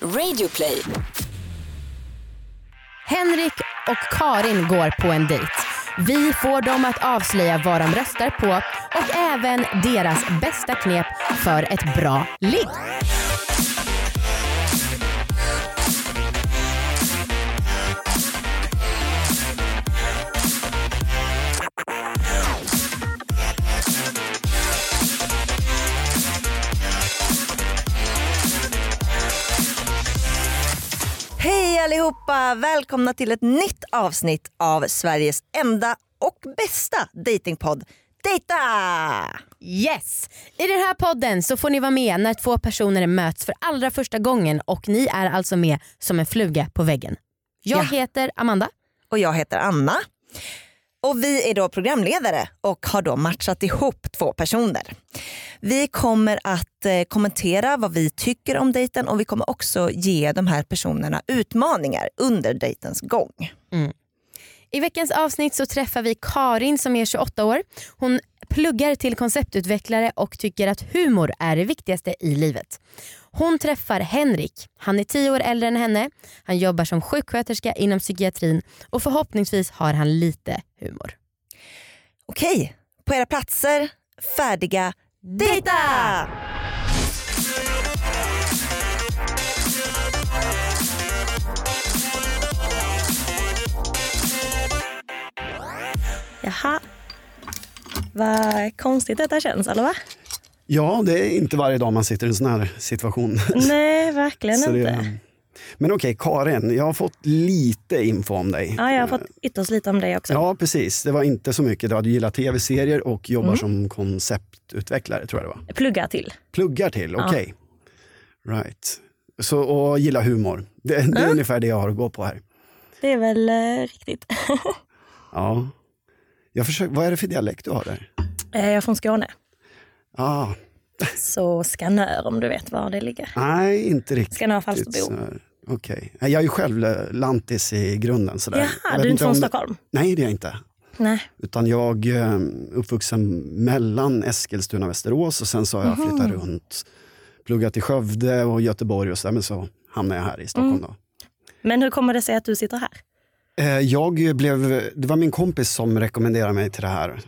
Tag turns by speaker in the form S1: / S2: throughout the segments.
S1: Radioplay.
S2: Henrik och Karin går på en dejt. Vi får dem att avslöja vad de röstar på och även deras bästa knep för ett bra ligg.
S3: Hej allihopa! Välkomna till ett nytt avsnitt av Sveriges enda och bästa datingpodd Dejta!
S2: Yes! I den här podden så får ni vara med när två personer möts för allra första gången och ni är alltså med som en fluga på väggen. Jag
S3: Ja.
S2: heter Amanda.
S3: Och jag heter Anna. Och vi är då programledare och har då matchat ihop två personer. Vi kommer att eh, kommentera vad vi tycker om dejten och vi kommer också ge de här personerna utmaningar under dejtens gång.
S2: I veckans avsnitt så träffar vi Karin som är 28 år. Hon pluggar till konceptutvecklare och tycker att humor är det viktigaste i livet. Hon träffar Henrik. Han är 10 år äldre än henne. Han jobbar som sjuksköterska inom psykiatrin och förhoppningsvis har han lite humor.
S3: Okej, på era platser, färdiga, dejta!
S4: Jaha. Vad konstigt detta känns, eller va?
S5: Ja, det är inte varje dag man sitter i en sån här situation.
S4: Nej, verkligen
S5: Så det-
S4: inte.
S5: Men okej, Karin, jag har fått lite info om dig.
S4: Ja, jag har fått ytterst lite om dig också.
S5: Ja, precis. Det var inte så mycket. Du hade gillat tv-serier och jobbar
S4: Mm.
S5: som konceptutvecklare, tror jag det var.
S4: Plugga till.
S5: Pluggar till, okej. Right. Så, och gilla humor. Det, det är ungefär det jag har att gå på här.
S4: Det är väl eh, riktigt.
S5: Ja. Jag försöker, vad är det för dialekt du har där?
S4: Eh, jag är från Skåne,
S5: Ah,
S4: så Skanör om du vet var det ligger.
S5: nej, inte riktigt.
S4: Skanör Falsterbo.
S5: så här. Okej. Nej, Jag är ju själv eh, lantis i grunden. Sådär. Jag
S4: Jaha,
S5: vet
S4: du är inte
S5: om
S4: från
S5: det-
S4: Stockholm?
S5: Nej, det är jag inte.
S4: Nej.
S5: Utan jag eh, uppvuxen mellan Eskilstuna och Västerås och sen så har jag flyttat runt. Pluggat i Skövde och Göteborg och så där, men så hamnade jag här i Stockholm. Då.
S4: Men hur kommer det sig att du sitter här?
S5: Eh, jag blev, det var min kompis som rekommenderade mig till det här.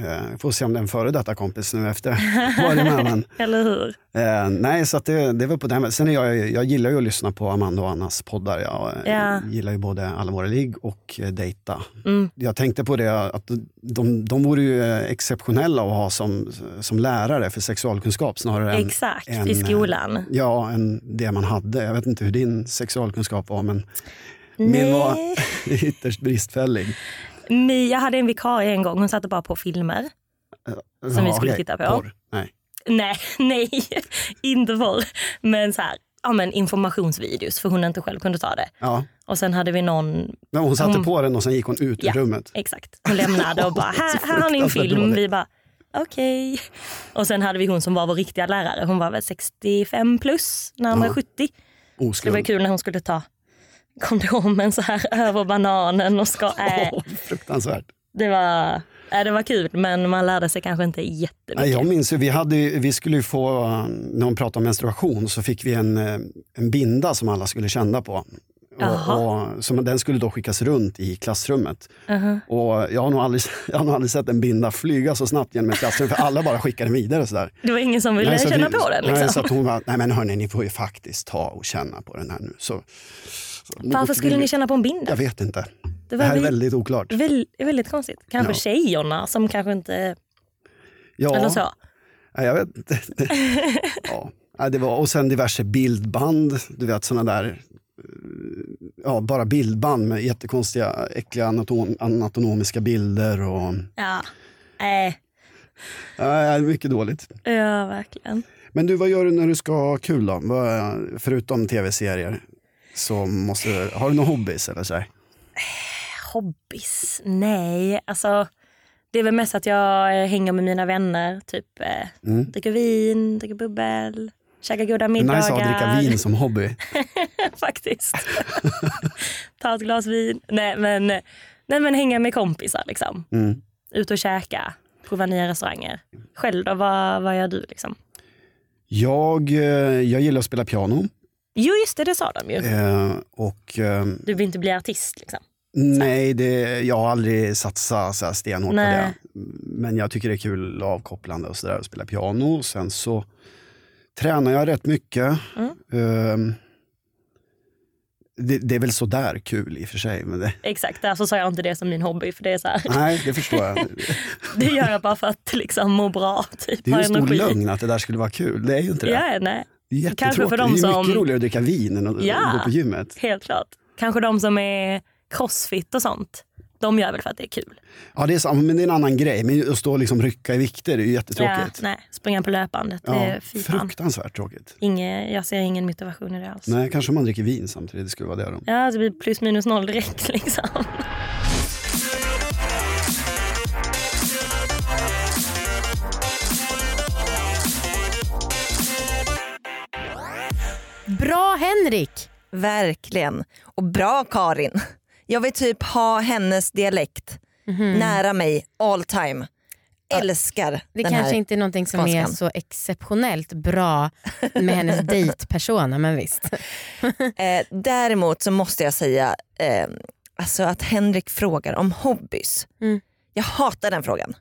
S5: Eh, får se om det är en före detta kompis nu efter var det med men,
S4: Eller hur?
S5: eh, Nej, så att det, det var på den vägen. Sen är jag, jag gillar ju att lyssna på Amanda och Annas poddar. Jag eh,
S4: Ja.
S5: gillar ju både Alla våra ligg och eh, Dejta.
S4: Mm.
S5: Jag tänkte på det att de, de vore ju eh, exceptionella att ha som, som lärare för sexualkunskap snarare än
S4: Exakt,
S5: en,
S4: i
S5: eh,
S4: skolan.
S5: Ja, än det man hade. Jag vet inte hur din sexualkunskap var, men min var
S4: Nej.
S5: ytterst bristfällig.
S4: Mi, jag hade en vikarie en gång, hon satte bara på filmer. Som vi skulle
S5: okej.
S4: titta på.
S5: Porr. Nej.
S4: Nej, nej, inte för. Men så här, ja men informationsvideos för hon inte själv kunde ta det.
S5: Ja.
S4: Och sen hade vi någon
S5: Men hon satte
S4: Hon-
S5: på den och sen gick hon ut
S4: Ja.
S5: ur rummet.
S4: Exakt. Hon lämnade och bara, här, här har ni en
S5: Fruktansvärt
S4: film.
S5: dåligt.
S4: Vi bara, okej. Och sen hade vi hon som var vår riktiga lärare. Hon var väl 65 plus, närmare
S5: Ja.
S4: 70. Det var ju
S5: Oskuld.
S4: kul när hon skulle ta kondomen så här över bananen och ska... Äh,
S5: Åh, fruktansvärt.
S4: det, var, äh, det var kul, men man lärde sig kanske inte jättemycket.
S5: Nej, jag minns ju, vi, hade, ju- vi skulle ju få, eh, när hon pratade om menstruation, så fick vi en, eh, en binda som alla skulle känna på.
S4: Jaha.
S5: Och, och, som, den skulle då skickas runt i klassrummet.
S4: Uh-huh.
S5: Och jag, har nog aldrig, jag har nog aldrig sett en binda flyga så snabbt genom ett klassrum, för alla bara skickade den vidare. Sådär.
S4: Det var ingen som ville
S5: så att
S4: känna
S5: vi-
S4: på den.
S5: Nej,
S4: Liksom.
S5: så att hon bara, nej men hörni, ni får ju faktiskt ta och känna på den här nu. Så,
S4: Varför skulle ni känna på en binda?
S5: Jag vet inte.
S4: Det
S5: Det här är
S4: vi-
S5: väldigt oklart.
S4: väl- väldigt konstigt. Kanske
S5: Ja.
S4: tjejerna som kanske inte...
S5: Ja.
S4: Eller så.
S5: Ja, jag vet inte. ja. Ja, det var, och sen diverse bildband, du vet sådana där, eh, ja bara bildband med jättekonstiga, äckliga anatom, anatomiska bilder och,
S4: Ja. Äh,
S5: ja, mycket dåligt.
S4: ja, verkligen.
S5: Men du, vad gör du när du ska ha kul då? Vad- Förutom tv-serier, så måste, du- har du några hobbys eller så? här?
S4: Hobbys? Nej, alltså det är väl mest att jag eh, hänger med mina vänner. Typ eh,
S5: Mm.
S4: dricker vin, dricker bubbel, käkar goda
S5: Det är
S4: middagar.
S5: Nice att dricka vin som hobby.
S4: Faktiskt. Ta ett glas vin. Nej men, nej, men hänga med kompisar liksom.
S5: Mm.
S4: Ut och käka, prova nya restauranger. Själv då, vad, vad gör du liksom?
S5: Jag, eh, jag gillar att spela piano.
S4: Jo just det, det sa de ju.
S5: Eh, och, eh,
S4: Du vill inte bli artist liksom.
S5: nej, det, jag har aldrig satsat så här stenhårt på det.
S4: Nej.
S5: Men jag tycker det är kul och avkopplande och sådär att spela piano. Sen så tränar jag rätt mycket.
S4: Mm.
S5: Eh, det, det är väl sådär kul i och för sig. Men det,
S4: Exakt, därför sa jag inte det som min hobby. För det är så här,
S5: nej, det förstår jag.
S4: det gör jag bara för att liksom må bra. Typ,
S5: Det är ju
S4: ha
S5: en stor
S4: energi.
S5: lögn att det där skulle vara kul. Det är ju inte det.
S4: Ja, nej.
S5: Det är
S4: Kanske
S5: jättetråkigt.
S4: för dem
S5: det är ju mycket
S4: som-
S5: roligare att dricka vin än att
S4: Ja.
S5: gå på gymmet.
S4: Helt klart. Kanske de som är crossfit och sånt. De gör väl för att det är kul.
S5: Ja, det är, sant, men det är en annan grej. Men att stå och liksom rycka i vikter är ju jättetråkigt.
S4: Ja, nej, springa på löpbandet, det
S5: Ja,
S4: är fy fan.
S5: fruktansvärt tråkigt.
S4: Inge, jag ser ingen motivation i det alls.
S5: Nej, kanske om man dricker vin samtidigt. Det skulle vara det då.
S4: Ja, det blir plus minus noll direkt liksom.
S2: Bra Henrik!
S3: Verkligen. Och bra Karin. Jag vill typ ha hennes dialekt nära mig all time. Älskar
S2: Mm. Det
S3: den
S2: kanske
S3: här.
S2: inte är någonting som är
S3: skånskan.
S2: så exceptionellt bra med hennes dejtpersona men visst.
S3: Eh, däremot så måste jag säga eh, alltså att Henrik frågar om hobbys.
S2: Mm.
S3: Jag hatar den frågan.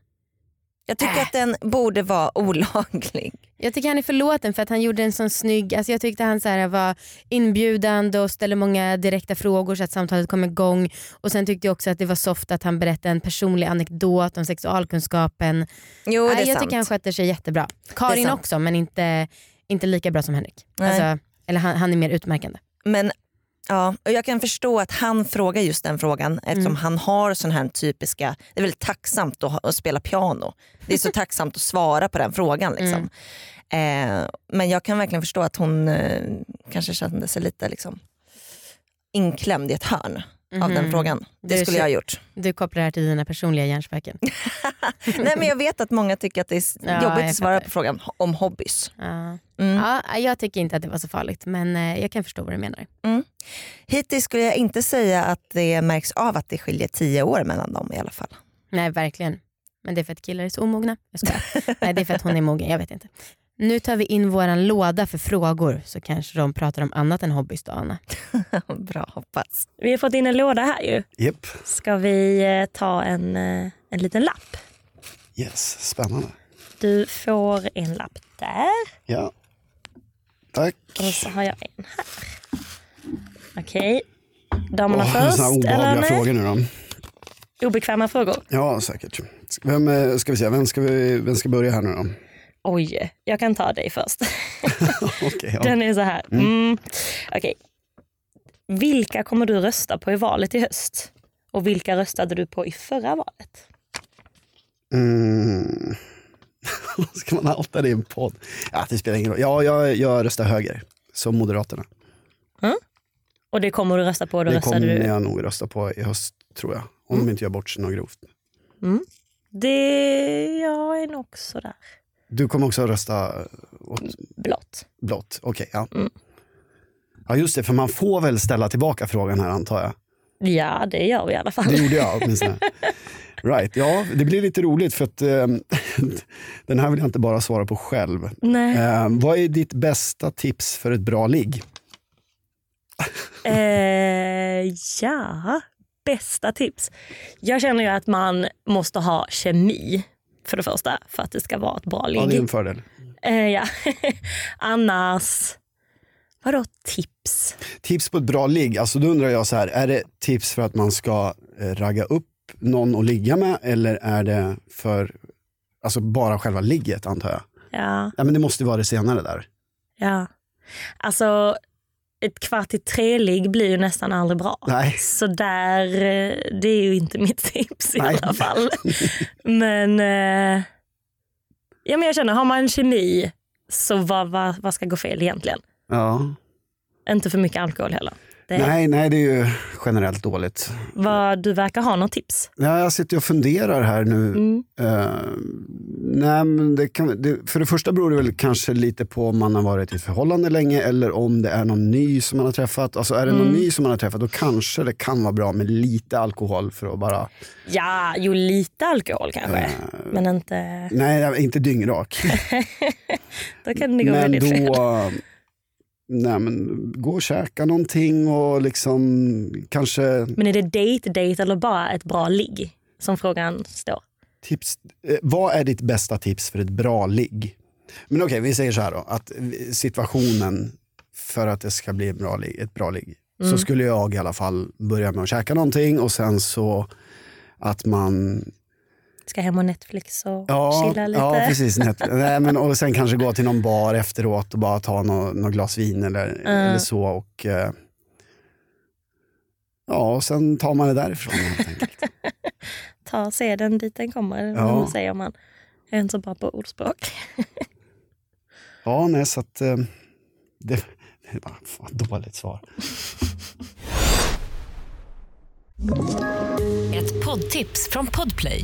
S3: Jag tycker
S2: Äh.
S3: att den borde vara olaglig.
S2: Jag tycker han är förlåten för att han gjorde en sån snygg, alltså jag tyckte han så här var inbjudande och ställde många direkta frågor så att samtalet kom igång. Och sen tyckte jag också att det var soft att han berättade en personlig anekdot om sexualkunskapen.
S3: Jo det är
S2: Nej, jag
S3: sant.
S2: tycker han sköter sig jättebra. Karin
S3: sant.
S2: också men inte, inte lika bra som Henrik.
S3: Nej.
S2: Alltså, eller han, han är mer utmärkande.
S3: Men ja, och jag kan förstå att han frågar just den frågan eftersom
S2: Mm.
S3: han har sån här typiska, det är väldigt tacksamt att, ha- att spela piano. Det är så tacksamt att svara på den frågan. Liksom. Eh, men jag kan verkligen förstå att hon eh, kanske kände sig lite liksom, inklämd i ett hörn av den
S2: Mhm.
S3: frågan. Det
S2: Du
S3: skulle jag ha gjort.
S2: Du kopplar det här till dina personliga hjärnspöken.
S3: Nej, men jag vet att många tycker att det är s-
S2: Ja,
S3: jobbigt
S2: jag
S3: att svara
S2: fattar.
S3: på frågan om hobbys.
S2: Ja.
S3: Mm.
S2: Ja, jag tycker inte att det var så farligt men eh, jag kan förstå vad du menar.
S3: mm. Hittills skulle jag inte säga att det märks av att det skiljer tio år mellan dem i alla fall.
S2: Nej verkligen. Men det är för att killar är så omogna. Jag skojar. Nej det är för att hon är mogen, jag vet inte. Nu tar vi in våran låda för frågor så kanske de pratar om annat än hobbys då Anna.
S3: Bra, hoppas.
S4: Vi har fått in en låda här ju.
S5: Japp.
S4: Ska vi eh, ta en, eh, en liten lapp?
S5: Yes, spännande.
S4: Du får en lapp där
S5: Ja. Tack.
S4: och så har jag en här. Okej. Damerna
S5: Åh,
S4: först,
S5: såna här
S4: eller
S5: obehagliga
S4: nej?
S5: frågor nu då.
S4: Obekväma frågor.
S5: Ja, säkert. Vem, eh, ska vi se, vem ska, vi, vem ska börja här nu då?
S4: Oj, jag kan ta dig först.
S5: Okej, ja.
S4: Den är så här. Mm. Okej. Vilka kommer du rösta på i valet i höst? Och vilka röstade du på i förra valet?
S5: Mm. Ska man outa det i en podd? Ja, det spelar ingen roll. Ja, jag, jag röstar höger, som Moderaterna.
S4: Och det kommer du rösta på, då
S5: det
S4: röstade
S5: kommer
S4: du... Mm.
S5: jag nog rösta på i höst, tror jag. Om de inte gör bort sig något grovt.
S4: Det... Jag är nog sådär.
S5: Du kommer också rösta åt
S4: Blått.
S5: blått? Okej, ja.
S4: Mm.
S5: Ja, just det, för man får väl ställa tillbaka frågan här, antar jag.
S4: Ja, det gör vi i alla fall.
S5: Det gjorde jag åtminstone. Right, ja, det blir lite roligt för att eh, den här vill jag inte bara svara på själv.
S4: Nej.
S5: Eh, vad är ditt bästa tips för ett bra ligg?
S4: Eh, ja, bästa tips. Jag känner ju att man måste ha kemi för det första för att det ska vara ett bra ligg.
S5: Ja, det är en fördel.
S4: Eh, ja. Annars, vadå tips?
S5: Tips på ett bra ligg, alltså då undrar jag så här, är det tips för att man ska eh, ragga upp någon att ligga med eller är det för alltså bara själva ligget antar jag?
S4: Ja,
S5: Ja, men det måste ju vara det senare där.
S4: ja. Alltså, ett kvart i tre-ligg blir ju nästan aldrig bra.
S5: Nej.
S4: Så där, eh, det är ju inte mitt tips i
S5: Nej.
S4: alla fall. Men, eh, ja, men jag känner, har man kemi så vad, vad, vad ska gå fel egentligen?
S5: Ja.
S4: Inte för mycket alkohol heller. Det,
S5: Nej, nej, det är ju generellt dåligt.
S4: Vad, du verkar ha något tips.
S5: Ja, jag sitter och funderar här nu.
S4: Mm.
S5: Eh, nej, men det kan, det, för det första beror det väl kanske lite på om man har varit i ett förhållande länge eller om det är någon ny som man har träffat. Alltså är det någon
S4: Mm.
S5: ny som man har träffat då kanske det kan vara bra med lite alkohol för att bara...
S4: Ja, jo lite alkohol kanske.
S5: eh,
S4: Men inte...
S5: nej, inte dyngrak.
S4: Då kan det gå
S5: men
S4: väldigt fel.
S5: då, nej, men, gå och käka någonting och liksom kanske
S4: Men är det date, date eller bara ett bra ligg? Som frågan står.
S5: tips. Eh, vad är ditt bästa tips för ett bra ligg? Men okej, vi säger så här då. Att vi- situationen för att det ska bli ett bra ligg, ett bra ligg
S4: Mm.
S5: så skulle jag i alla fall börja med att käka någonting och sen så att man...
S4: Ska hem och Netflix och
S5: Ja,
S4: chilla lite.
S5: ja precis. Net- Nej, men, och sen kanske gå till någon bar efteråt och bara ta något nå glas vin eller, eller så. Och, eh, ja, och sen tar man det därifrån helt enkelt.
S4: Ta seden dit den kommer,
S5: Ja.
S4: ja. säger man. Jag är inte så bra på ordspråk.
S5: Ja, nej, så att... eh, Det, det var fan, dåligt svar.
S1: Ett poddtips från Podplay.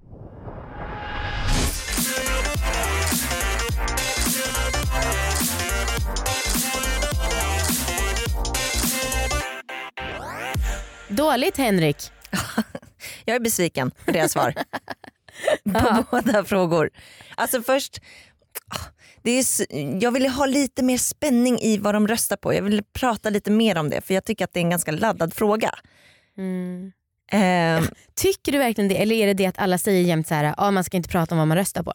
S2: Dåligt Henrik.
S3: Jag är besviken på deras svar. på båda frågor. Alltså först, ah, det är, s- jag ville ha lite mer spänning i vad de röstar på. Jag ville prata lite mer om det för jag tycker att det är en ganska laddad fråga. Mm. Ehm,
S2: Tycker du verkligen det eller är det det att alla säger jämt så här, ah, man ska inte prata om vad man röstar på?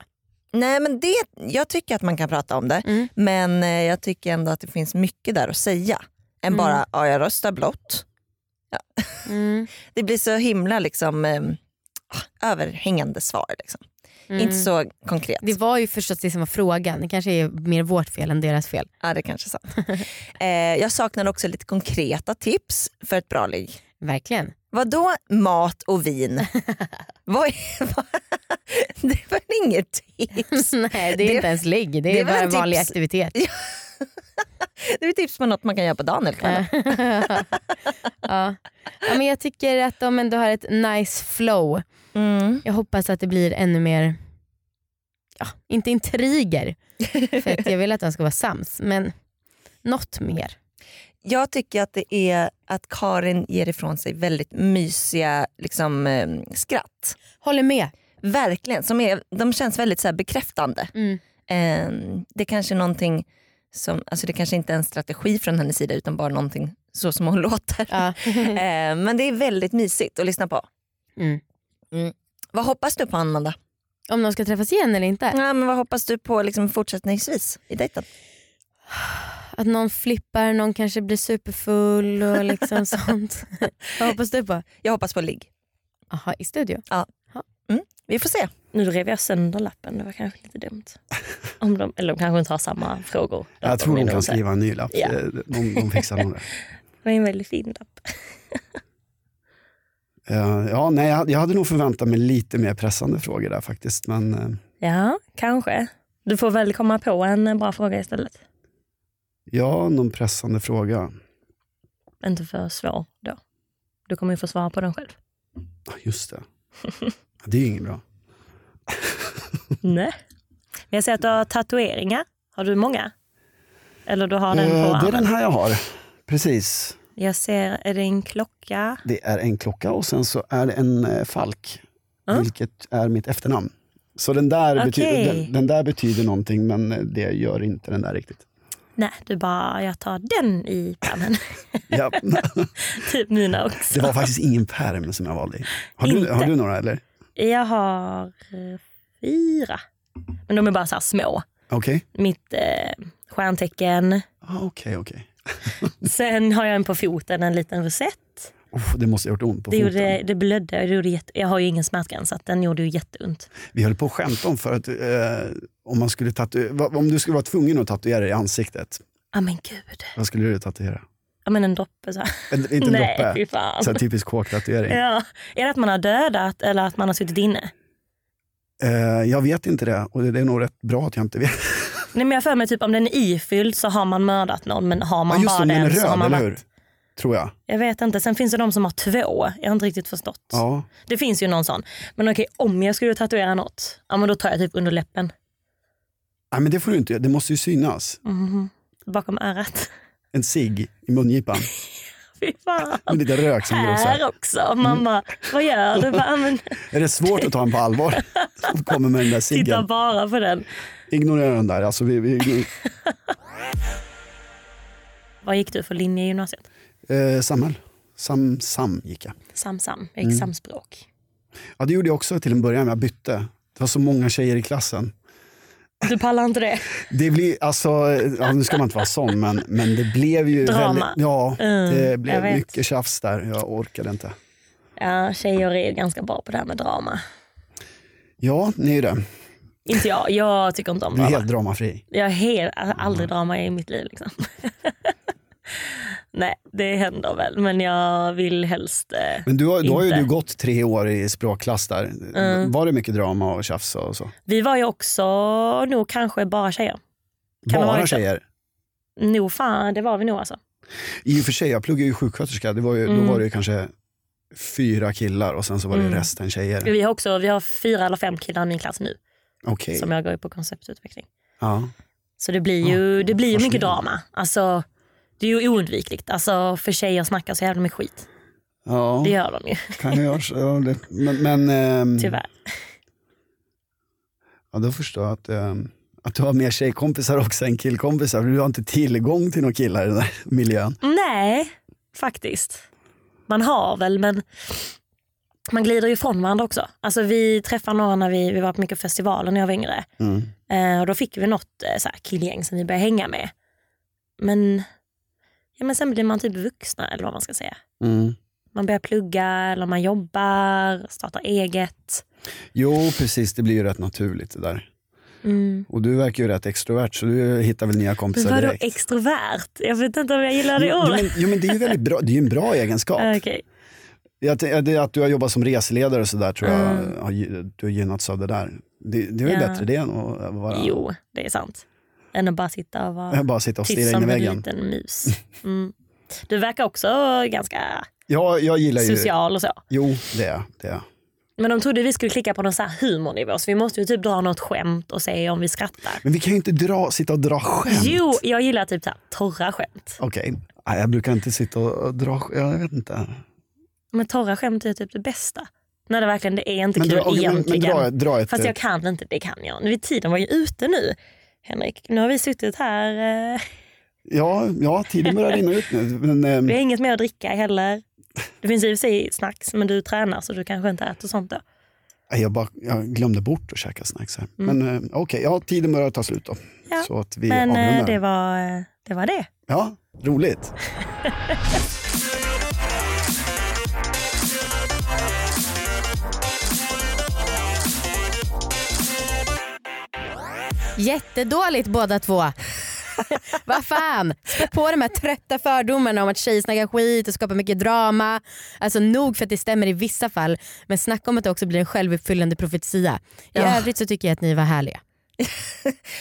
S3: nej men det, jag tycker att man kan prata om det
S2: Mm.
S3: men eh, jag tycker ändå att det finns mycket där att säga. Än
S2: Mm.
S3: bara, ja jag röstar blått.
S2: Mm,
S3: Det blir så himla liksom, ehm, ah, överhängande svar. Liksom.
S2: mm.
S3: Inte så konkret.
S2: Det var ju förstås det som var frågan. Det kanske är mer vårt fel än deras fel.
S3: Ja, det kanske är sant. eh, jag saknar också lite konkreta tips för ett bra ligg.
S2: Verkligen.
S3: Vadå mat och vin? Vad är, det var inget tips.
S2: Nej det är
S3: Det-
S2: inte ens ligg. Det,
S3: det
S2: är
S3: var
S2: bara
S3: en
S2: vanlig
S3: tips.
S2: aktivitet.
S3: Det är tips på något man kan göra på dagen eller kvällen.
S2: ja. Ja, men jag tycker att de ändå har ett nice flow.
S3: Mm.
S2: Jag hoppas att det blir ännu mer, ja, inte intriger. För att jag vill att de ska vara sams. Men något mer.
S3: Jag tycker att det är att Karin ger ifrån sig väldigt mysiga liksom, eh, skratt.
S2: Håller med.
S3: Verkligen. Som är, de känns väldigt så här, bekräftande.
S2: Mm.
S3: Eh, det kanske är någonting som, alltså det kanske inte är en strategi från hennes sida utan bara någonting så som hon låter.
S2: Ja.
S3: Eh, men det är väldigt mysigt att lyssna på.
S2: Mm.
S3: Vad hoppas du på Amanda?
S2: Om de ska träffas igen eller inte.
S3: Ja, men vad hoppas du på liksom, fortsättningsvis i dejten?
S2: Att någon flippar, någon kanske blir superfull och liksom sånt. Vad hoppas du på?
S3: Jag hoppas på ligg.
S2: Jaha, i studio?
S3: Vi får se.
S4: Nu rev jag sönder lappen, det var kanske lite dumt. Om de, eller de kanske inte har samma frågor.
S5: Jag tror
S4: de
S5: de
S4: inte.
S5: kan skriva en ny lapp.
S4: Ja.
S5: De, de, de fixar nog det.
S4: Det var en väldigt fin lapp.
S5: Eh, ja, nej, jag, jag hade nog förväntat mig lite mer pressande frågor där faktiskt. Men eh,
S4: Ja, kanske. Du får väl komma på en bra fråga istället.
S5: ja, någon pressande fråga.
S4: Inte för svår då. Du kommer ju få svara på den själv.
S5: Ja, Just det. Ja, Det är ju inget bra.
S4: Nej. Men jag ser att du har tatueringar. Har du många? Eller du har den på
S5: Eh, det är
S4: armen?
S5: den här jag har. Precis.
S4: Jag ser, är det en klocka?
S5: Det är en klocka och sen så är det en eh, falk.
S4: Ja.
S5: Vilket är mitt efternamn. Så den där,
S4: Okej.
S5: betyder, den, den där betyder någonting men eh, det gör inte den där riktigt.
S4: Nej, du bara, jag tar den i pärmen.
S5: Ja,
S4: typ mina
S5: det
S4: också.
S5: var faktiskt ingen pärm som jag valde. Har du,
S4: Inte.
S5: har du några eller?
S4: Jag har eh, fyra. Men de är bara så här små.
S5: Okej.
S4: Mitt eh, stjärntecken.
S5: Ah, Okej, okej.
S4: Sen har jag en på foten, en liten rosett.
S5: Oh, det måste ha gjort ont på
S4: Det,
S5: foten.
S4: gjorde, det blödde. och Det gjorde jätte, jag har ju ingen smärtgräns, så att den gjorde ju jätteont.
S5: Vi höll på att skämta om för att eh, om, man skulle tatu- va- om du skulle vara tvungen att tatuera dig i ansiktet,
S4: Ja men gud.
S5: vad skulle du tatuera?
S4: Ja men en droppe så här.
S5: En, inte en
S4: Nej,
S5: droppe.
S4: fy fan.
S5: Så här typisk kåktatuering.
S4: Ja. Är det att man har dödat eller att man har suttit inne?
S5: Eh, jag vet inte det och det, det är nog rätt bra att jag inte vet.
S4: Nej men jag har för mig typ om den är ifylld så har man mördat någon men har man
S5: Ja, just
S4: bara
S5: det, om den är
S4: så har
S5: röd,
S4: man
S5: eller
S4: varit-
S5: hur? tror jag.
S4: Jag vet inte. Sen finns det de som har två. Jag har inte riktigt förstått.
S5: Ja.
S4: Det finns ju någon sån. Men okej, om jag skulle tatuera något, ja, men då tar jag typ under läppen.
S5: Nej, men det får du inte göra. Det måste ju synas.
S4: Mhm. Bakom örat.
S5: En cigg i mungipan
S4: Fy fan.
S5: med lite rök som Mm. glosar.
S4: Här också. Man bara, vad gör du? Bara, men,
S5: Är det svårt att ta en på allvar? Som kommer med den där
S4: titta
S5: ciggen.
S4: bara på den.
S5: Ignorera den där. Alltså, vi, vi,
S4: Vad gick du för linje i gymnasiet?
S5: eh, samhäll. Sam, sam gick jag.
S4: Sam, sam. Jag gick
S5: Mm.
S4: samspråk.
S5: Ja, det gjorde jag också till en början, men jag bytte. Det var så många tjejer i klassen.
S4: Du pallar inte det?
S5: Det blir, alltså, ja, nu ska man inte vara sån, men, men det blev ju
S4: Drama.
S5: väldigt... Ja, det
S4: Mm, jag
S5: blev
S4: vet.
S5: mycket tjafs där. Jag orkade inte.
S4: Ja, tjejer är ju ganska bra på det här med drama.
S5: Ja, ni är ju det.
S4: Inte jag. Jag tycker inte om
S5: Du är
S4: drama.
S5: helt Mm. dramafri.
S4: Jag är helt, aldrig drama i mitt liv. Liksom. Nej, det händer väl. Men jag vill helst... Eh,
S5: Men du har, då har ju
S4: Inte. Mm.
S5: du gått tre år i språkklass där. Var det mycket drama och tjafs och så?
S4: vi var ju också nog kanske bara tjejer. Kan det vara
S5: Bara
S4: det?
S5: tjejer?
S4: Nog fan, det var vi nog alltså.
S5: I och för sig, jag pluggade ju sjuksköterska. Det var ju,
S4: Mm.
S5: Då var det ju kanske fyra killar och sen så var det
S4: Mm.
S5: resten tjejer.
S4: Vi har, också, vi har fyra eller fem killar i min klass nu
S5: Okej.
S4: som jag går ju på konceptutveckling.
S5: Ja.
S4: Så det blir ju, det blir ju mycket
S5: fascinerande.
S4: drama. Alltså, det är ju oundvikligt. Alltså, för tjejer snackar så jävla mycket skit.
S5: Ja, Mm.
S4: Det gör de ju,
S5: kan jag göra. så? Ja, det- Men, men ehm,
S4: tyvärr.
S5: ja, då förstår jag att, ehm, att du har mer tjejkompisar också än killkompisar. för Du har inte tillgång till några killar i den där miljön.
S4: Nej, faktiskt. Man har väl, men man glider ju ifrån varandra också. Alltså, vi träffade några när vi, vi var på mycket festivaler när jag var yngre.
S5: Mm.
S4: Eh, och då fick vi något eh, så här killgäng som vi började hänga med. Men, ja, men sen blir man typ vuxna, eller vad man ska säga.
S5: Mm.
S4: Man börjar plugga, eller man jobbar, startar eget.
S5: Jo, precis. Det blir ju rätt naturligt det där.
S4: Mm.
S5: Och du verkar ju rätt extrovert så du hittar väl nya kompisar
S4: Vadå
S5: direkt.
S4: extrovert? Jag vet inte om jag gillar det
S5: Jo, jo,
S4: ordet. Ah,
S5: men, jo, men det är ju väldigt bra, det är ju en bra egenskap.
S4: Okej,
S5: Jag tänker- det är att du har jobbat som reseledare och sådär tror jag
S4: Mm.
S5: har, gy- du har gynnats av det där. Det, det är ju
S4: Ja.
S5: bättre det än att eh, vara,
S4: jo det är sant. Än att bara sitta och vara
S5: bara sitta och
S4: tyst
S5: stirra in
S4: som
S5: i
S4: en
S5: väggen.
S4: liten mus. Mm. Du verkar också ganska
S5: Ja, jag gillar ju...
S4: social och så.
S5: Jo, det är jag, det är jag.
S4: Men de trodde vi skulle klicka på någon så här humornivå så vi måste ju typ dra något skämt och se om vi skrattar.
S5: Men vi kan ju inte dra, sitta och dra skämt.
S4: Jo, jag gillar typ så här torra skämt.
S5: Okej, Nej, jag brukar inte sitta och och dra sk- jag vet inte.
S4: Men torra skämt är typ det bästa. När det verkligen det är inte
S5: Men
S4: kul
S5: dra, okej, men, men
S4: egentligen.
S5: dra, dra ett...
S4: Fast jag kan inte, det kan jag. Nu, Tiden var ju ute nu, Henrik. Nu har vi suttit här. Eh,
S5: Ja, ja, tiden börjar rinna ut nu. Men, ehm,
S4: vi har inget mer att dricka heller. Det finns i och för sig snacks, men du tränar så du kanske inte äter sånt då.
S5: Nej, Jag, bara, jag glömde bort att käka snacks här. Men eh, okej, ja, tiden börjar ta slut då.
S4: Mm. Ja,
S5: Så att vi
S4: Men eh,
S5: avrundar.
S4: det var, eh, det var det.
S5: Ja, roligt.
S2: Jättedåligt båda två. Vad fan, spä på de här trötta fördomarna om att tjejer snackar skit och skapar mycket drama. Alltså nog för att det stämmer i vissa fall men snacka om att det också blir en självuppfyllande profetia. I
S3: Ja.
S2: övrigt så tycker jag att ni var härliga.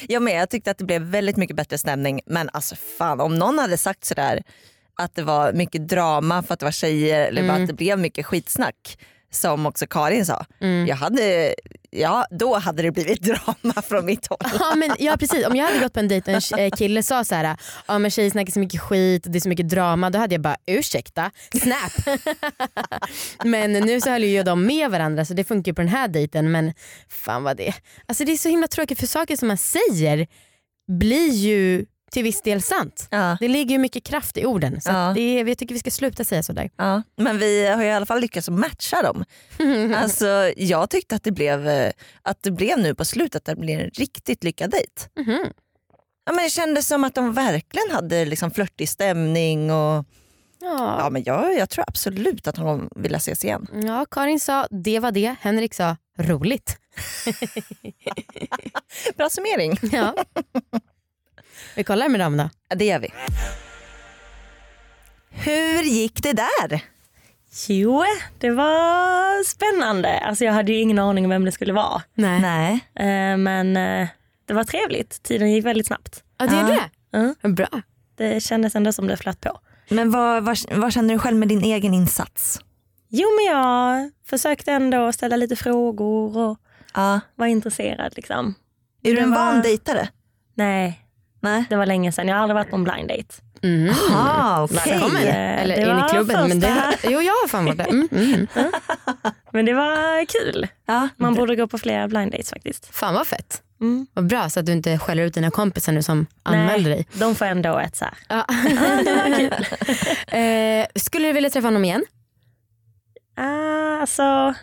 S3: Jag med, jag tyckte att det blev väldigt mycket bättre stämning. Men alltså fan, om någon hade sagt sådär att det var mycket drama för att det var tjejer eller bara att det blev mycket skitsnack som också Karin sa. Jag hade, ja, då hade det blivit drama från mitt håll.
S2: Ja, men, ja precis, om jag hade gått på en dejt och en tj- eh, kille sa så här, ja men tjejer snackar så mycket skit och det är så mycket drama, då hade jag bara ursäkta, snap. men nu så höll ju de med varandra så det funkar ju på den här dejten men fan vad det Alltså det är så himla tråkigt för saker som man säger blir ju till viss del sant.
S3: Ja,
S2: Det ligger ju mycket kraft i orden så
S3: Ja.
S2: att det är, jag tycker vi ska sluta säga sådär.
S3: ja. Men vi har ju i alla fall lyckats matcha dem. Alltså, jag tyckte att det, blev, eh, att det blev nu på slutet att det blev en riktigt lyckad dejt.
S2: Mhm.
S3: Ja, men det kändes som att de verkligen hade liksom flörtig stämning och Ja,
S2: Ja.
S3: men jag, jag tror absolut att hon kommer vilja ses igen.
S2: ja Karin sa det var det, Henrik sa roligt.
S3: Bra summering.
S2: Ja. vi kollar med dem då.
S3: Ja, det gör vi. Hur gick det där?
S4: Jo, det var spännande. Alltså, jag hade ju ingen aning om vem det skulle vara.
S2: Nej.
S3: Nej.
S4: Eh, Men eh, det var trevligt. Tiden gick väldigt snabbt.
S2: Ja det är
S3: Ja.
S2: det?
S4: Ja.
S2: Bra.
S4: Det kändes ändå som det flöt på.
S3: Men vad, vad, vad känner du själv med din egen insats?
S4: Jo men jag försökte ändå ställa lite frågor och
S3: Ja.
S4: var intresserad. Liksom.
S3: Är du
S4: Det
S3: en
S4: var-
S3: van dejtare?
S4: Nej,
S3: Nej.
S4: det var länge sedan. Jag har aldrig varit på en blind date.
S2: Mm.
S3: Ah, okej.
S2: Välkommen. Eller
S4: Det
S2: in i
S4: var
S2: klubben. Men det,
S4: första.
S2: jo, jag har fan varit där. Mm, mm.
S4: Men det var kul.
S3: Ja.
S4: Man borde gå på flera blind dates faktiskt.
S2: Fan vad fett.
S4: Mm.
S2: Vad bra så att du inte skäller ut dina kompisar nu som anmälde dig.
S4: Nej, de får ändå ett så här.
S2: Ja. eh, skulle du vilja träffa honom igen?
S4: Ah, alltså,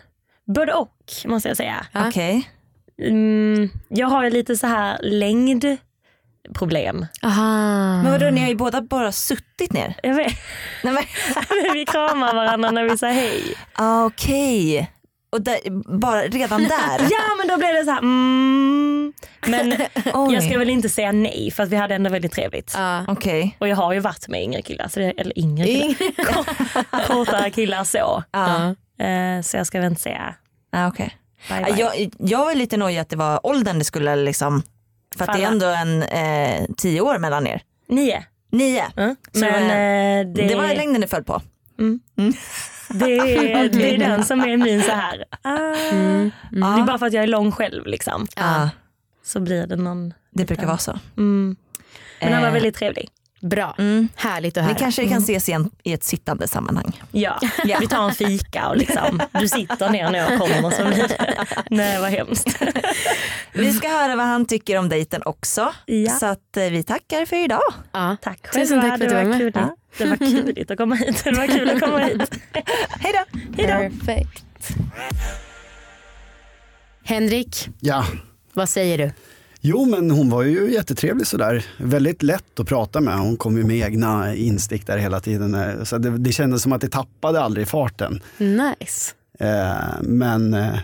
S4: både och måste jag säga.
S2: Ja.
S3: Okej.
S4: Mm, jag har ju lite så här längdproblem.
S2: Aha.
S3: Men vadå, ni har ju båda bara suttit ner?
S4: Jag vet,
S3: Nej, men...
S4: vi kramar varandra när vi säger hej.
S3: ah, okej. Och där, bara redan där?
S4: Ja men då blir det så här. Mm. Men
S3: Oj.
S4: jag ska väl inte säga nej för att vi hade ändå väldigt trevligt.
S2: Ja.
S3: Okej.
S4: Och jag har ju varit med yngre killar, så det, eller yngre killar, kortare killar så.
S2: Ja.
S4: Eh, så jag ska väl inte säga
S3: Ah, okej.
S4: bye
S3: Ja,
S4: bye.
S3: Jag, jag var lite nojig att det var åldern det skulle liksom, för att det är
S4: Falla.
S3: ändå en eh, tio år mellan er.
S4: Nio.
S3: Nio.
S4: Mm.
S3: Så det var-
S4: Men eh,
S3: Det,
S4: det,
S3: var längden du föll på.
S4: det, är, det är den som är min så här. Ah. Det är bara för att jag är lång själv liksom.
S3: Ja,
S4: Så blir det någon.
S3: det Ah, brukar vara så.
S4: Mm. Men han var
S3: Eh.
S4: väldigt trevlig.
S2: Bra,
S3: Mm.
S2: härligt att
S3: Ni
S2: höra.
S3: kanske kan ses igen i ett sittande sammanhang.
S4: Ja, vi tar en fika och liksom, du sitter ner när jag kommer. Så blir det. Nej vad hemskt.
S3: Vi ska höra vad han tycker om dejten också.
S4: Ja.
S3: Så att eh, vi tackar för idag.
S2: Ja.
S4: Tack själva.
S2: Tusen tack för att du
S4: det
S2: var med.
S4: Kul.
S3: Ja.
S4: Det var kul att komma hit. Det var kul att komma hit.
S3: Hej då!
S4: Hejdå.
S2: Perfekt. Henrik,
S5: Ja.
S2: vad säger du?
S5: Jo, men hon var ju jättetrevlig sådär. Väldigt lätt att prata med. Hon kom ju med egna instick där hela tiden. eh, Så det, det kändes som att det tappade aldrig farten.
S2: Nice.
S5: Eh, men eh,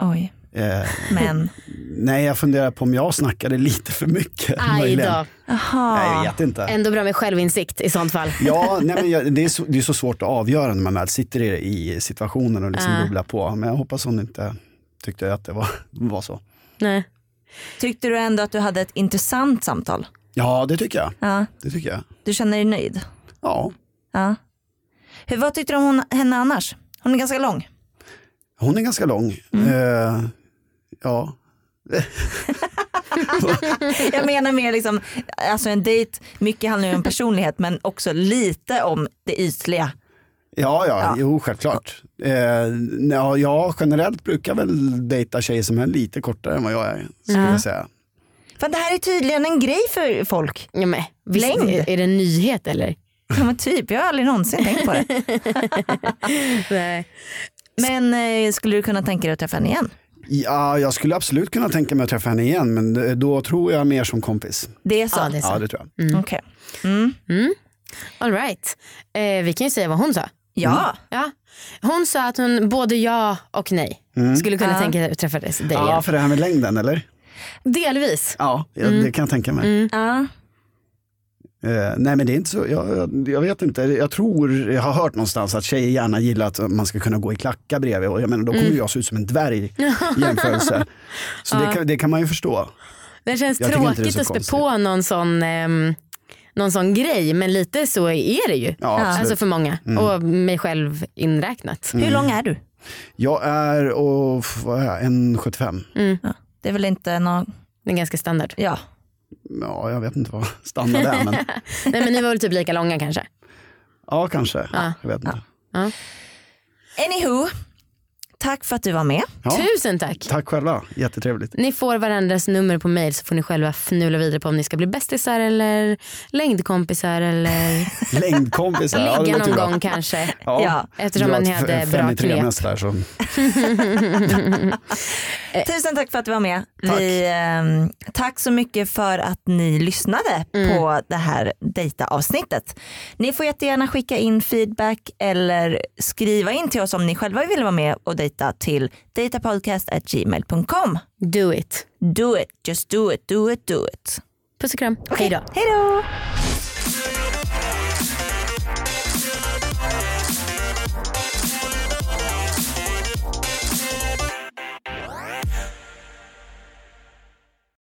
S3: Oj,
S5: eh,
S3: men.
S5: nej, jag funderar på om jag snackade lite för mycket.
S2: Aj
S5: möjligen.
S2: då.
S5: Nej, jag
S3: Jaha.
S5: vet inte.
S2: Ändå bra med självinsikt i sånt fall.
S5: Ja, nej, men jag, det, är så, det är så svårt att avgöra när man väl sitter i, i situationen och liksom
S2: Ja.
S5: bubblar på. Men jag hoppas hon inte tyckte att det var, var så.
S2: Nej.
S3: Tyckte du ändå att du hade ett intressant samtal?
S5: Ja, det tycker jag.
S3: Ja.
S5: Det tycker jag.
S3: Du känner dig nöjd?
S5: Ja.
S3: Ja. Hur, vad tyckte du om hon, henne annars? Hon är ganska lång.
S5: Hon är ganska lång.
S2: Mm.
S5: Eh, ja.
S3: Jag menar mer liksom, alltså en dejt, mycket handlar ju om personlighet men också lite om det ytliga.
S5: Ja, ja, jo, självklart. Eh, nej, ja, jag generellt brukar väl dejta tjejer som är lite kortare än vad jag är, skulle jag säga.
S3: För det här är tydligen en grej för folk.
S2: Ja, men, visst,
S3: Längd.
S2: Är, är det en nyhet eller?
S3: Ja, men typ, jag har aldrig någonsin tänkt på det.
S2: Nej.
S3: Men eh, skulle du kunna tänka dig att träffa henne igen?
S5: Ja, jag skulle absolut kunna tänka mig att träffa henne igen, men eh, då tror jag mer som kompis.
S3: Det är så?
S2: Ja, det är så.
S5: Ja, det tror jag.
S3: Okej. Mm.
S2: All right. Eh, vi kan ju säga vad hon sa.
S3: Ja,
S2: Ja. Hon sa att hon både ja och nej skulle kunna tänka sig att träffa dig dig igen.
S5: Mm. Ja, för det här med längden, eller?
S2: Delvis. Mm.
S5: Ja, jag- det kan jag tänka mig.
S3: ja.
S5: Eh, nej men det är inte så, jag, jag, jag vet inte, jag tror, jag har hört någonstans att tjejer gärna gillar att man ska kunna gå i klackar bredvid och jag menar då kommer
S2: Mm.
S5: jag se ut som en dvärg i jämförelse. Så det, kan, det kan man ju förstå.
S2: Det känns
S5: Jag tycker inte det är
S2: tråkigt
S5: så
S2: att spä
S5: konstigt.
S2: på någon sån, ehm, någon sån grej men lite så är det ju.
S5: Ja,
S2: Alltså
S5: absolut. Mm.
S2: för många och mig själv inräknat.
S3: Hur lång är du? jag
S5: Jag är, och, f- vad är jag, 1,75.
S3: Det är väl inte någon,
S2: Det är ganska standard.
S3: ja.
S5: Ja, jag vet inte vad standard är men
S2: Nej men ni var väl typ lika långa kanske?
S5: ja kanske. Jag vet inte.
S3: Anywho, tack för att du var med.
S5: Ja,
S2: Tusen tack.
S5: tack själva, jättetrevligt.
S2: Ni får varandras nummer på mail så får ni själva fnula vidare på om ni ska bli bästisar eller längdkompisar eller
S5: Längdkompisar, ja, det
S2: ligga
S5: var tur
S2: någon
S5: va?
S2: gång kanske.
S3: Ja.
S2: Eftersom
S5: dra
S2: ni
S5: ett
S2: hade
S5: f-
S2: bra
S5: fem i tre
S2: knep.
S5: nästa här som
S3: Tusen tack för att du var med. Tack, vi, ehm, tack så mycket för att ni lyssnade på det här dejta-avsnittet. Ni får jättegärna skicka in feedback eller skriva in till oss om ni själva vill vara med och dejta till datapodcast.gmail.com.
S2: Do it.
S3: Do it, just do it, do it, do it.
S2: Puss och kram. Hej då.
S3: Hej då!